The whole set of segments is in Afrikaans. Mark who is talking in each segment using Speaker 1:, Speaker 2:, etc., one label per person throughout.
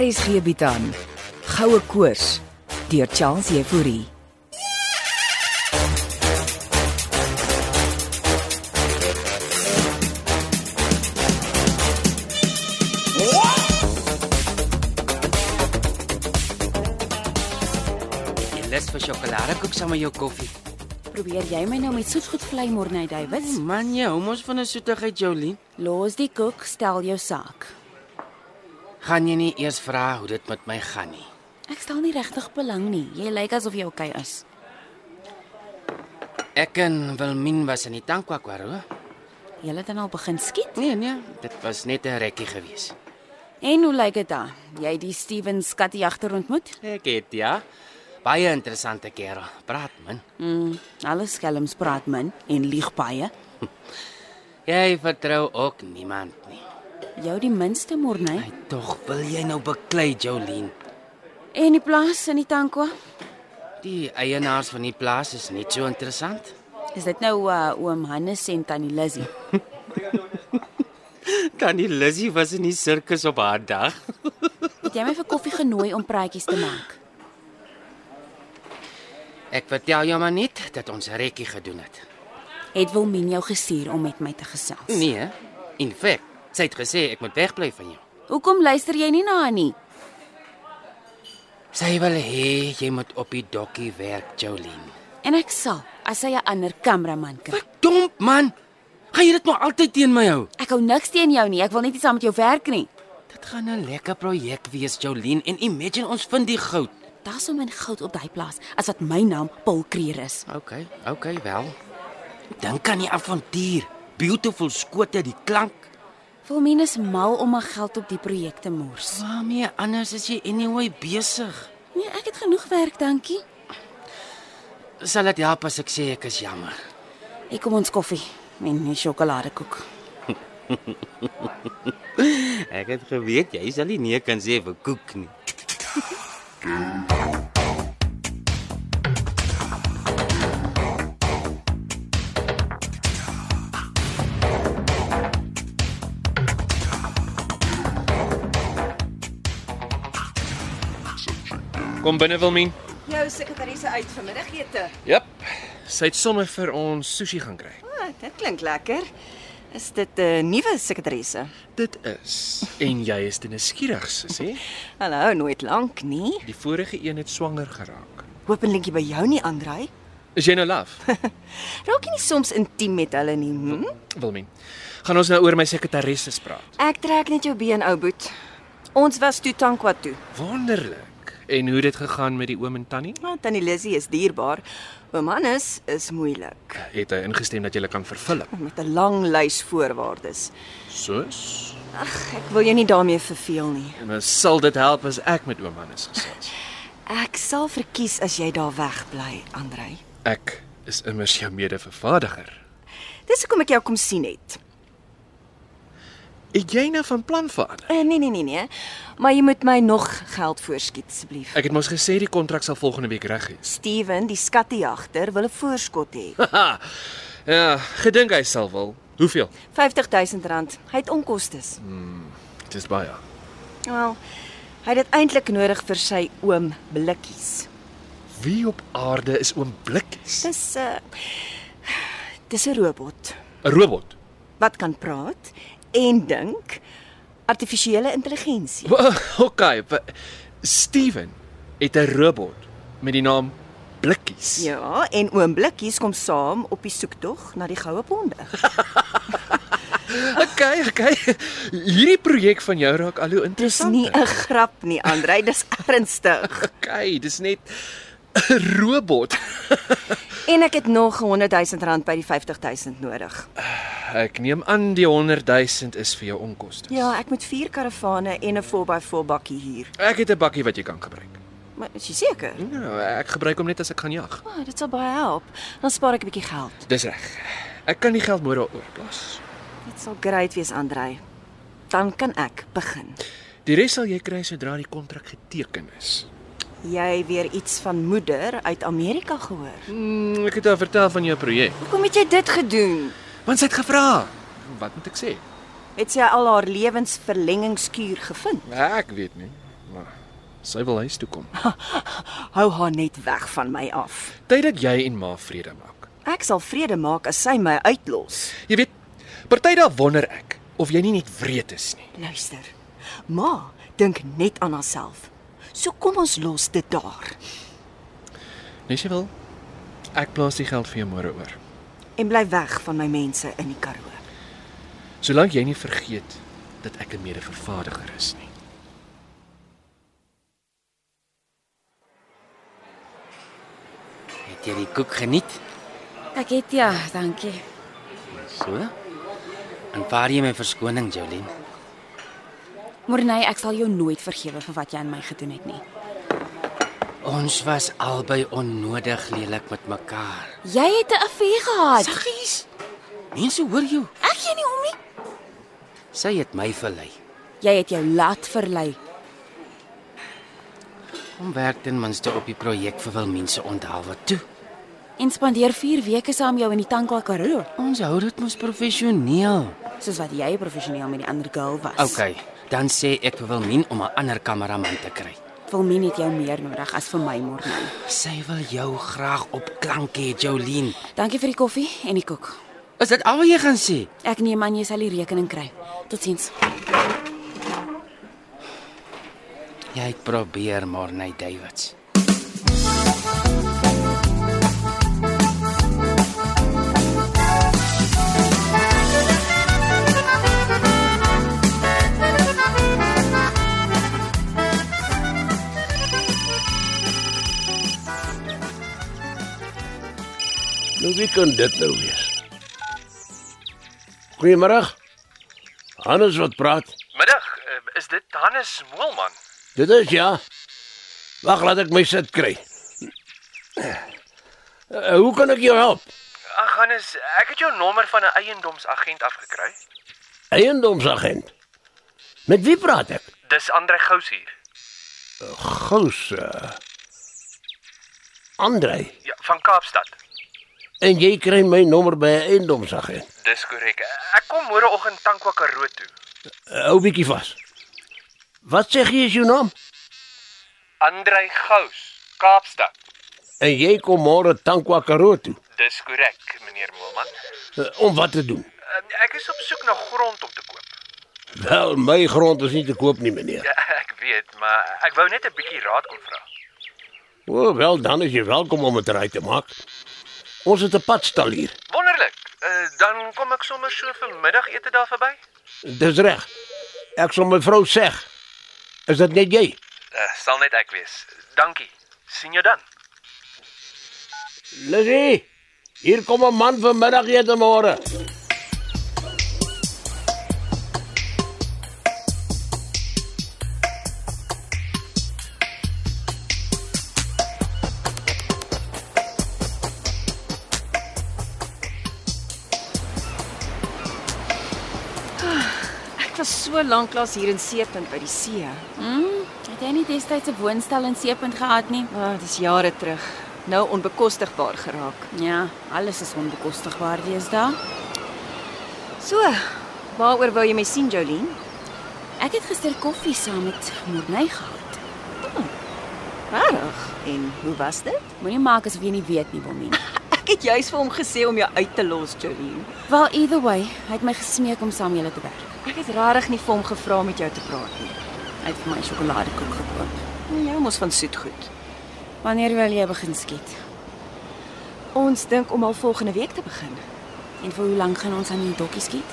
Speaker 1: RSG bied aan Goue Koors deur Charles Euphorie.
Speaker 2: Jy lus vir sjokoladekoek saam met jou koffie.
Speaker 3: Probeer jy my nou met soetgoed vlei Morney Davids?
Speaker 2: Nee, Man, jy hou mos van 'n soetigheid, Jolien.
Speaker 3: Los die koek, stel jou saak.
Speaker 2: Gaan jy nie eers vra hoe dit met my gaan nie?
Speaker 3: Ek stel nie regtig belang nie. Jy lyk asof jy okay is.
Speaker 2: Ek en Wilmin was in die Tankwakwaro.
Speaker 3: Jy het dan al begin skiet?
Speaker 2: Nee, nee, dit was net 'n rekkie gewees.
Speaker 3: En hoe lyk dit daar? Jy het die Steven skattejagter ontmoet?
Speaker 2: Ek het ja. Baie interessante kerel. Praat man.
Speaker 3: Mm, alle skelms praat min en lieg baie.
Speaker 2: Jy vertrou ook niemand nie.
Speaker 3: Jou die minste Morney.
Speaker 2: Hy tog wil jy nou beklei, Jolien.
Speaker 3: En die plaas in die Tankwa?
Speaker 2: Die eienaars van die plaas is net so interessant.
Speaker 3: Is dit nou uh, oom Hannes en tannie Lizzie?
Speaker 2: Tannie Lizzie was in die sirkus op haar dag.
Speaker 3: Het jy my vir koffie genooi om praatjies te maak?
Speaker 2: Ek vertel jou maar net dat ons 'n rekkie gedoen het.
Speaker 3: Het Wilmien jou gestuur om met my te gesels?
Speaker 2: Nee, in feite, sy het gesê ek moet wegbly van jou.
Speaker 3: Hoekom luister jy nie na haar nie?
Speaker 2: Sy wil hê jy moet op die dokkie werk, Jolene.
Speaker 3: En ek sal as hy 'n ander kameraman kry.
Speaker 2: Verdomp man. Gaan jy dit nou altyd teen my hou?
Speaker 3: Ek hou niks teen jou nie. Ek wil net nie saam met jou werk nie.
Speaker 2: Dit gaan 'n lekker projek wees, Jolene, en imagine ons vind die goud.
Speaker 3: Daar's hom in goud op daai plaas as wat my naam Paul Kreer is.
Speaker 2: OK, OK, wel. Dink aan die avontuur. Beautiful skote, die klank.
Speaker 3: Wilmien is mal om haar geld op die projek te mors.
Speaker 2: Waarmee anders is jy anyway besig?
Speaker 3: Nee, ek het genoeg werk, dankie.
Speaker 2: Sal dit help as ek sê ek is jammer?
Speaker 3: Ek kom ons koffie en 'n sjokoladekoek.
Speaker 2: Ek het geweet jy sal nie nee kan sê vir koek nie.
Speaker 4: Kom binne Wilmien.
Speaker 5: Jou sekretarisse uit vir middagete.
Speaker 4: Jep. Sy het sommer vir ons sushi gaan kry.
Speaker 5: O, oh, dit klink lekker. Is dit 'n uh, nuwe sekretarisse?
Speaker 4: Dit is. En jy is te nuuskierig, sussie.
Speaker 5: Hallo, nooit lank nie.
Speaker 4: Die vorige een het swanger geraak.
Speaker 5: Hoopelik by jou nie, Andrei.
Speaker 4: Is jy nou laf?
Speaker 5: Raak jy nie soms intiem met hulle nie? Hm?
Speaker 4: Wilmien. Gaan ons nou oor my sekretarisse praat.
Speaker 5: Ek trek net jou been, ou boet. Ons was toe Tankwa toe.
Speaker 4: Wonderlik. En hoe het dit gegaan met die oom en tannie?
Speaker 5: Maar Nou, Tannie Lizzie is dierbaar. Oom Hannes is moeilik
Speaker 4: Het hy ingestem dat jy hulle kan vervul?
Speaker 5: met 'n lang lys voorwaardes.
Speaker 4: Soos?
Speaker 5: Ag, ek wil jou nie daarmee verveel nie.
Speaker 4: En dan sal dit help as ek met oom Hannes gesels.
Speaker 5: Ek sal verkies as jy daar wegbly, Andrei.
Speaker 4: Ek is immers jou mede-vervaardiger.
Speaker 5: Dis hoekom ek jou kom sien het.
Speaker 4: Het jy nou van plan verander?
Speaker 5: Uh, nee nee nee nee. Maar jy moet my nog geld voorskiet asseblief.
Speaker 4: Ek het mos gesê die kontrak sal volgende week reg wees.
Speaker 5: Steven, die skattejagter, wil 'n voorskot hê.
Speaker 4: Haha. ja, gedink hy sal wil. Hoeveel?
Speaker 5: R50000. Hy het onkostes.
Speaker 4: Dis baie.
Speaker 5: Wel, hy het dit eintlik nodig vir sy oom Blikkies.
Speaker 4: Wie op aarde is oom Blikkies?
Speaker 5: Dis 'n uh, dis 'n robot
Speaker 4: 'n Robot.
Speaker 5: wat kan praat en dink. Artifisiële intelligensie.
Speaker 4: Wa- Okay, wa- Steven het 'n robot met die naam Blikkies.
Speaker 5: Ja, en oom Blikkies kom saam op die soektog na die goue ponde.
Speaker 4: Okay, okay. Hierdie projek van jou raak al hoe
Speaker 5: Dis
Speaker 4: interessant.
Speaker 5: nie 'n grap nie, Andrej, dis ernstig.
Speaker 4: Okay, dis net 'n robot.
Speaker 5: En ek het nog 100000 rand by die 50000 nodig.
Speaker 4: Ek neem aan die 100 000 is vir jou onkoste.
Speaker 5: Ja, ek moet vier karavane en 'n 4x4 bakkie huur.
Speaker 4: Ek het 'n bakkie wat jy kan gebruik.
Speaker 5: Maar is jy seker?
Speaker 4: Ja, ek gebruik hom net as ek gaan jag.
Speaker 5: Oh, dit sal baie help. Dan spaar ek 'n bietjie geld.
Speaker 4: Dis reg. Ek kan die geld môre al oorplaas.
Speaker 5: Dit sal great wees, Andrej. Dan kan ek begin.
Speaker 4: Die res sal jy kry sodra die kontrak geteken is.
Speaker 5: Jy weer iets van moeder uit Amerika gehoor.
Speaker 4: Mm, ek het haar vertel van jou projek.
Speaker 5: Hoekom het jy dit gedoen?
Speaker 4: Want sy het gevra. Wat moet ek sê?
Speaker 5: Het sy al haar lewensverlengingskuur gevind?
Speaker 4: Ja, Ek weet nie. maar sy wil huis toe kom.
Speaker 5: Hou haar net weg van my af.
Speaker 4: Tyd dat jy en ma vrede maak.
Speaker 5: Ek sal vrede maak as sy my uitlos.
Speaker 4: Jy weet, party daar wonder ek of jy nie net wreed is nie.
Speaker 5: Luister. Ma dink net aan haarself. So kom ons los dit daar.
Speaker 4: Nes jy Nee, wil? Ek plaas die geld vir jou môre oor.
Speaker 5: en bly weg van my mense in die Karoo.
Speaker 4: Solank jy nie vergeet dat ek 'n mede-vervaardiger is nie.
Speaker 2: Het jy die koek geniet?
Speaker 3: Ek het ja, dankie.
Speaker 2: So? Aanvaar jy my verskoning, Jolene?
Speaker 3: Morney, ek sal jou nooit vergewe vir wat jy aan my gedoen het nie.
Speaker 2: Ons was albei onnodig lelik met mekaar.
Speaker 3: Jy het 'n affair gehad.
Speaker 2: Saggies. Mense hoor jou.
Speaker 3: Ek gee nie om nie.
Speaker 2: Sy het my verlei.
Speaker 3: Jy het jou laat verlei.
Speaker 2: Om werk ten minste op die projek vir wil mense onthaal wat toe.
Speaker 3: en spandeer 4 weke saam jou in die Tankwa Karoo,
Speaker 2: Ons hou dit mos professioneel.
Speaker 3: soos wat jy professioneel met die ander girl was.
Speaker 2: OK, dan sê ek vir Wilmien om 'n ander kameraman te kry.
Speaker 3: Wil min net jou meer nodig as vir my môre.
Speaker 2: Sy wil jou graag op klank hê, Jolene.
Speaker 3: Dankie vir die koffie en die koek.
Speaker 2: Is dit al wat jy gaan sê?
Speaker 3: Ek neem aan jy sal die rekening kry. Totsiens.
Speaker 2: Jy het probeer, Morney Davids.
Speaker 6: Nou wie kan dit nou wees? Goeiemôre. Hannes wat praat?
Speaker 4: Middag, eh, is dit Hannes Moelman?
Speaker 6: Dit is ja. Wag, laat ek my sit kry. Uh, hoe kan ek jou help?
Speaker 4: Ag Hannes, ek het jou nommer van 'n eiendomsagent afgekry.
Speaker 6: Eiendomsagent. Met wie praat ek?
Speaker 4: Dis Andre Gous hier.
Speaker 6: Gous. Uh, Andrei.
Speaker 4: Ja, van Kaapstad.
Speaker 6: En jy kry my nommer by 'n eiendomsagent.
Speaker 4: Dis korrek. Ek kom môreoggend Tankwa Karoo toe.
Speaker 6: Uh, hou bietjie vas. Wat sê jy is jou naam?
Speaker 4: Andre Gous, Kaapstad.
Speaker 6: En jy kom môre Tankwa Karoo toe
Speaker 4: Dis korrek, meneer Moelman.
Speaker 6: uh, om wat te doen.
Speaker 4: Eh, Ek is op soek na grond om te koop.
Speaker 6: Wel, my grond is nie te koop nie, meneer.
Speaker 4: Ja, ek weet, maar ek wou net 'n bietjie raad kom vra.
Speaker 6: O, wel dan is jy welkom om dit reg te maak. Ons het 'n padstal hier.
Speaker 4: Wonderlik. Uh, dan kom ek sommer so vir middagete daar verby.
Speaker 6: Dis reg. Ek sal my vrou sê. Is dit net jy?
Speaker 4: Uh, sal net ek wees. Dankie. sien jou dan.
Speaker 6: Lizzy, hier kom 'n man vir middagete môre.
Speaker 5: Ek was so lank lank hier in Seepunt by die see.
Speaker 3: Hmm, Het jy nie destyds 'n woonstel in Seepunt gehad nie?
Speaker 5: Maar Ah, dis jare terug. Nou onbekostigbaar geraak.
Speaker 3: Ja, alles is onbekostigbaar deesdae.
Speaker 5: So, waaroor wou jy my sien, Jolien?
Speaker 3: Ek het gister koffie saam met Morney gehad.
Speaker 5: Regtig? En hoe was dit?
Speaker 3: Moenie maak asof jy nie weet nie, Wilmien.
Speaker 5: Ek het juis vir hom gesê om jou uit te los, Jolien.
Speaker 3: Well, either way, hy het my gesmeek om saam julle te werk.
Speaker 5: Ek het regtig nie vir hom gevra om met jou te praat nie.
Speaker 3: Hy het vir my sjokoladekoek gekoop.
Speaker 5: Nou, Jy mos van soet goed.
Speaker 3: Wanneer wil jy begin skiet?
Speaker 5: Ons dink om al volgende week te begin.
Speaker 3: En vir hoe lank gaan ons aan die dokkie skiet?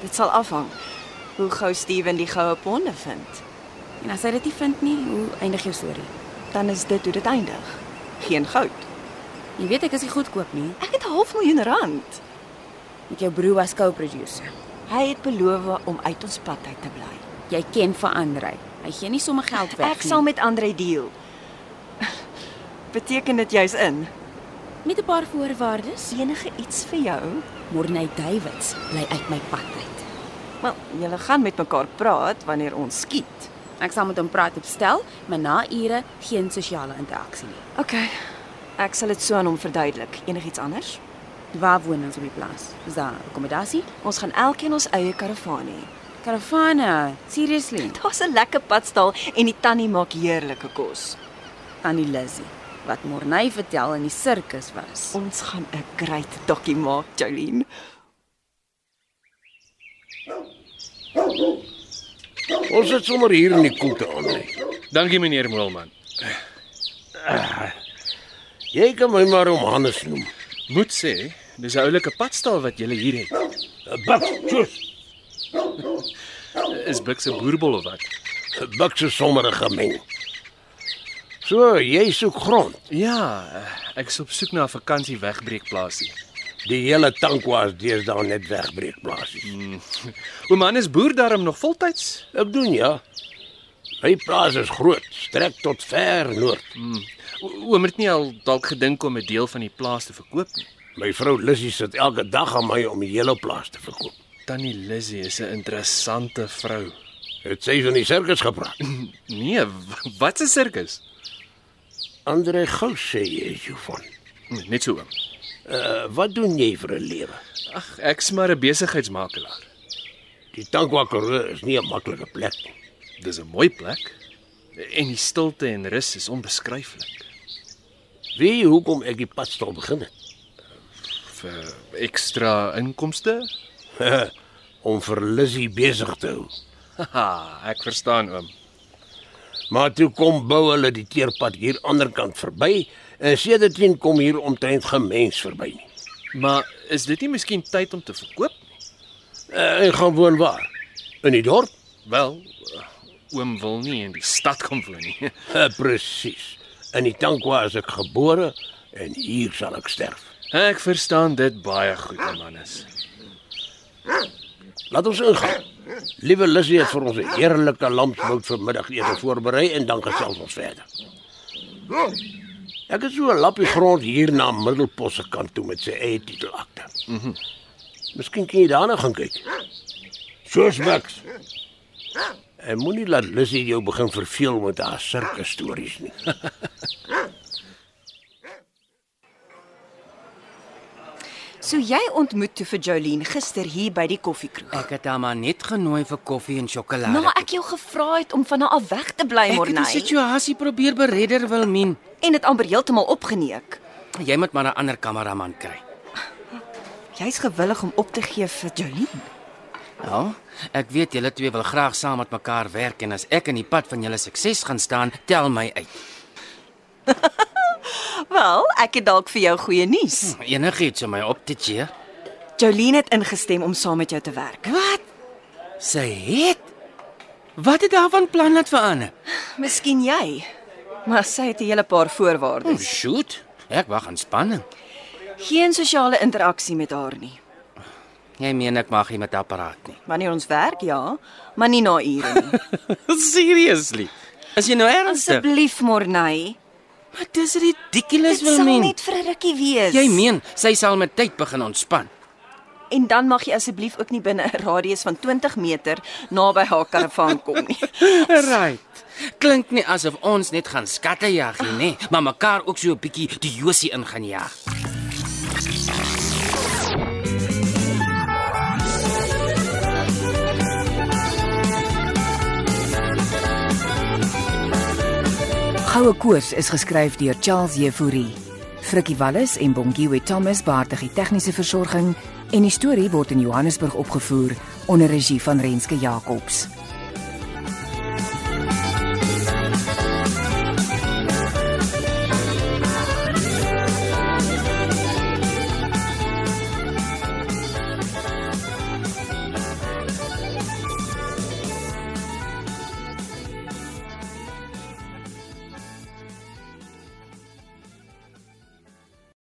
Speaker 5: Dit sal afhang hoe gou Steven die goue ponde vind.
Speaker 3: En as hy dit nie vind nie, hoe eindig jou storie?
Speaker 5: Dan is dit hoe dit eindig. Geen goud.
Speaker 3: Jy weet ek is nie goedkoop nie.
Speaker 5: Ek het 'n half miljoen rand.
Speaker 3: Met jou broer was co-producer.
Speaker 5: Hy het beloof om uit ons pad uit te bly.
Speaker 3: Jy ken vir Andrej. Hy gee nie sommer geld weg
Speaker 5: Ek sal met Andre deel. Beteken dit jy's in?
Speaker 3: met 'n paar voorwaardes.
Speaker 5: Enige iets vir jou?
Speaker 3: Morney Davids bly uit my pad uit.
Speaker 5: Wel, julle gaan met mekaar praat wanneer ons skiet.
Speaker 3: Ek sal met hom praat op stel, maar na ure geen sosiale interaksie nie.
Speaker 5: OK. Ek sal dit so aan hom verduidelik. Enigiets anders?
Speaker 3: Waar woon ons op die plaas? Is daar akkommodasie?
Speaker 5: Ons gaan elkeen ons eie karavaan hê.
Speaker 3: Caravana, seriously.
Speaker 5: Daar's 'n lekker padstal en die tannie maak heerlike kos.
Speaker 3: Tannie Lizzie wat Morney vertel in die sirkus was.
Speaker 5: Ons gaan 'n great dokkie maak, Jolene.
Speaker 6: Ons sit sommer hier in die koelte aan.
Speaker 4: Dankie meneer Moelman.
Speaker 6: Jy kan my maar om Hannes noem.
Speaker 4: Moet sê, dis 'n oulike padstal wat jy hier het.
Speaker 6: 'n Bak, tjus.
Speaker 4: Is Blik se boerbol of wat?
Speaker 6: 'n Bak se sommerige gemeng. So, jy soek grond.
Speaker 4: Ja, eh, ek is op soek na 'n vakansie wegbreekplaasie.
Speaker 6: Die hele tankwa is deesdae net wegbreekplaasies.
Speaker 4: Oom Hannes boer daarom nog voltyds.
Speaker 6: Ek doen ja. My plaas is groot, strek tot ver noord.
Speaker 4: O- Oom het nie al dalk gedink om 'n deel van die plaas te verkoop nie.
Speaker 6: My vrou Lissy sit elke dag aan my om die hele plaas te verkoop.
Speaker 4: Tannie Lizzie is 'n interessante vrou.
Speaker 6: Het sy van die sirkus gepraat?
Speaker 4: Nee, w- wat 'n sirkus.
Speaker 6: Andre Gou sê jy is jou van.
Speaker 4: Nee, Net so oom.
Speaker 6: Uh, wat doen jy vir 'n lewe?
Speaker 4: Ag, ek's maar 'n besigheidsmakelaar.
Speaker 6: Die Tankwa Karoo is nie 'n maklike plek nie.
Speaker 4: Dis 'n mooi plek en die stilte en rus is onbeskryflik.
Speaker 6: Weet jy hoekom ek die padstal begin het?
Speaker 4: Vir ekstra inkomste?
Speaker 6: Om vir Lissy besig te hou.
Speaker 4: Haha, ek verstaan oom.
Speaker 6: Maar toe kom bou hulle die teerpad hier ander kant verby en sedertdien kom hier omtrent gemens verby.
Speaker 4: Maar is dit nie miskien tyd om te verkoop nie?
Speaker 6: Uh, en gaan woon waar? In die dorp?
Speaker 4: Wel, eh, oom wil nie in die stad kom woon nie.
Speaker 6: Uh, Presies. In die Tankwa is ek gebore en hier sal ek sterf.
Speaker 4: Ek verstaan dit baie goed, oom Hannes.
Speaker 6: Laat ons ingaan. Liewe Lissy het vir ons 'n heerlike lamsbout vir middagete voorberei en dan gesels ons verder. Ek het so 'n lappie grond hier na Middelpos se kant toe met sy eie titelakte. Mhm. Mm Miskien kan jy daarna gaan kyk. Soos niks. En moenie laat Lissy jou begin verveel met haar sirkus stories nie.
Speaker 5: So jy ontmoet toe vir Jolene gister hier by die koffiekroeg.
Speaker 2: Ek het haar maar net genooi vir koffie en sjokolade.
Speaker 5: Nou ek jou gevra het om van haar af weg te bly,
Speaker 2: Ek het die
Speaker 5: Morney,
Speaker 2: situasie probeer beredder wil min.
Speaker 5: en dit amper heeltemal opgeneek.
Speaker 2: Jy moet maar 'n ander kameraman kry.
Speaker 5: Jy's gewillig om op te gee vir Jolene.
Speaker 2: Ja, ek weet julle twee wil graag saam met mekaar werk en as ek in die pad van julle sukses gaan staan, tel my uit.
Speaker 5: Wel, ek het dalk vir jou goeie nuus.
Speaker 2: Enigiets om my op te cheer.
Speaker 5: Hm. Jolene het ingestem om saam met jou te werk.
Speaker 2: Wat? Sy het Wat het haar van plan laat verander?
Speaker 5: Miskien jy, maar sy het 'n hele paar voorwaardes.
Speaker 2: Oh, Shoot. Ek wag aan spanning.
Speaker 5: Geen sosiale interaksie met haar nie.
Speaker 2: Jy meen ek mag nie met haar praat nie.
Speaker 5: Wanneer ons werk, ja, maar nie na ure nie.
Speaker 2: Seriously. As jy nou ernstig.
Speaker 5: Asseblief, Morney.
Speaker 2: Maar dis
Speaker 5: Dit
Speaker 2: ridiculous
Speaker 5: sal
Speaker 2: wil men.
Speaker 5: net vir 'n rukkie wees.
Speaker 2: Jy meen sy sal met tyd begin ontspan.
Speaker 5: En dan mag jy asseblief ook nie binne 'n radius van 20 meter naby haar karavaan kom nie.
Speaker 2: Right. Klink nie asof ons net gaan skattejag hier nê, maar mekaar ook so 'n bietjie die Josie in gaan jag.
Speaker 1: Goue koers is geskryf deur Charles Jefouri. Frikkie Wallis en Bongiwe Thomas baartig die tegniese versorging en die storie word in Johannesburg opgevoer onder regie van Renske Jacobs.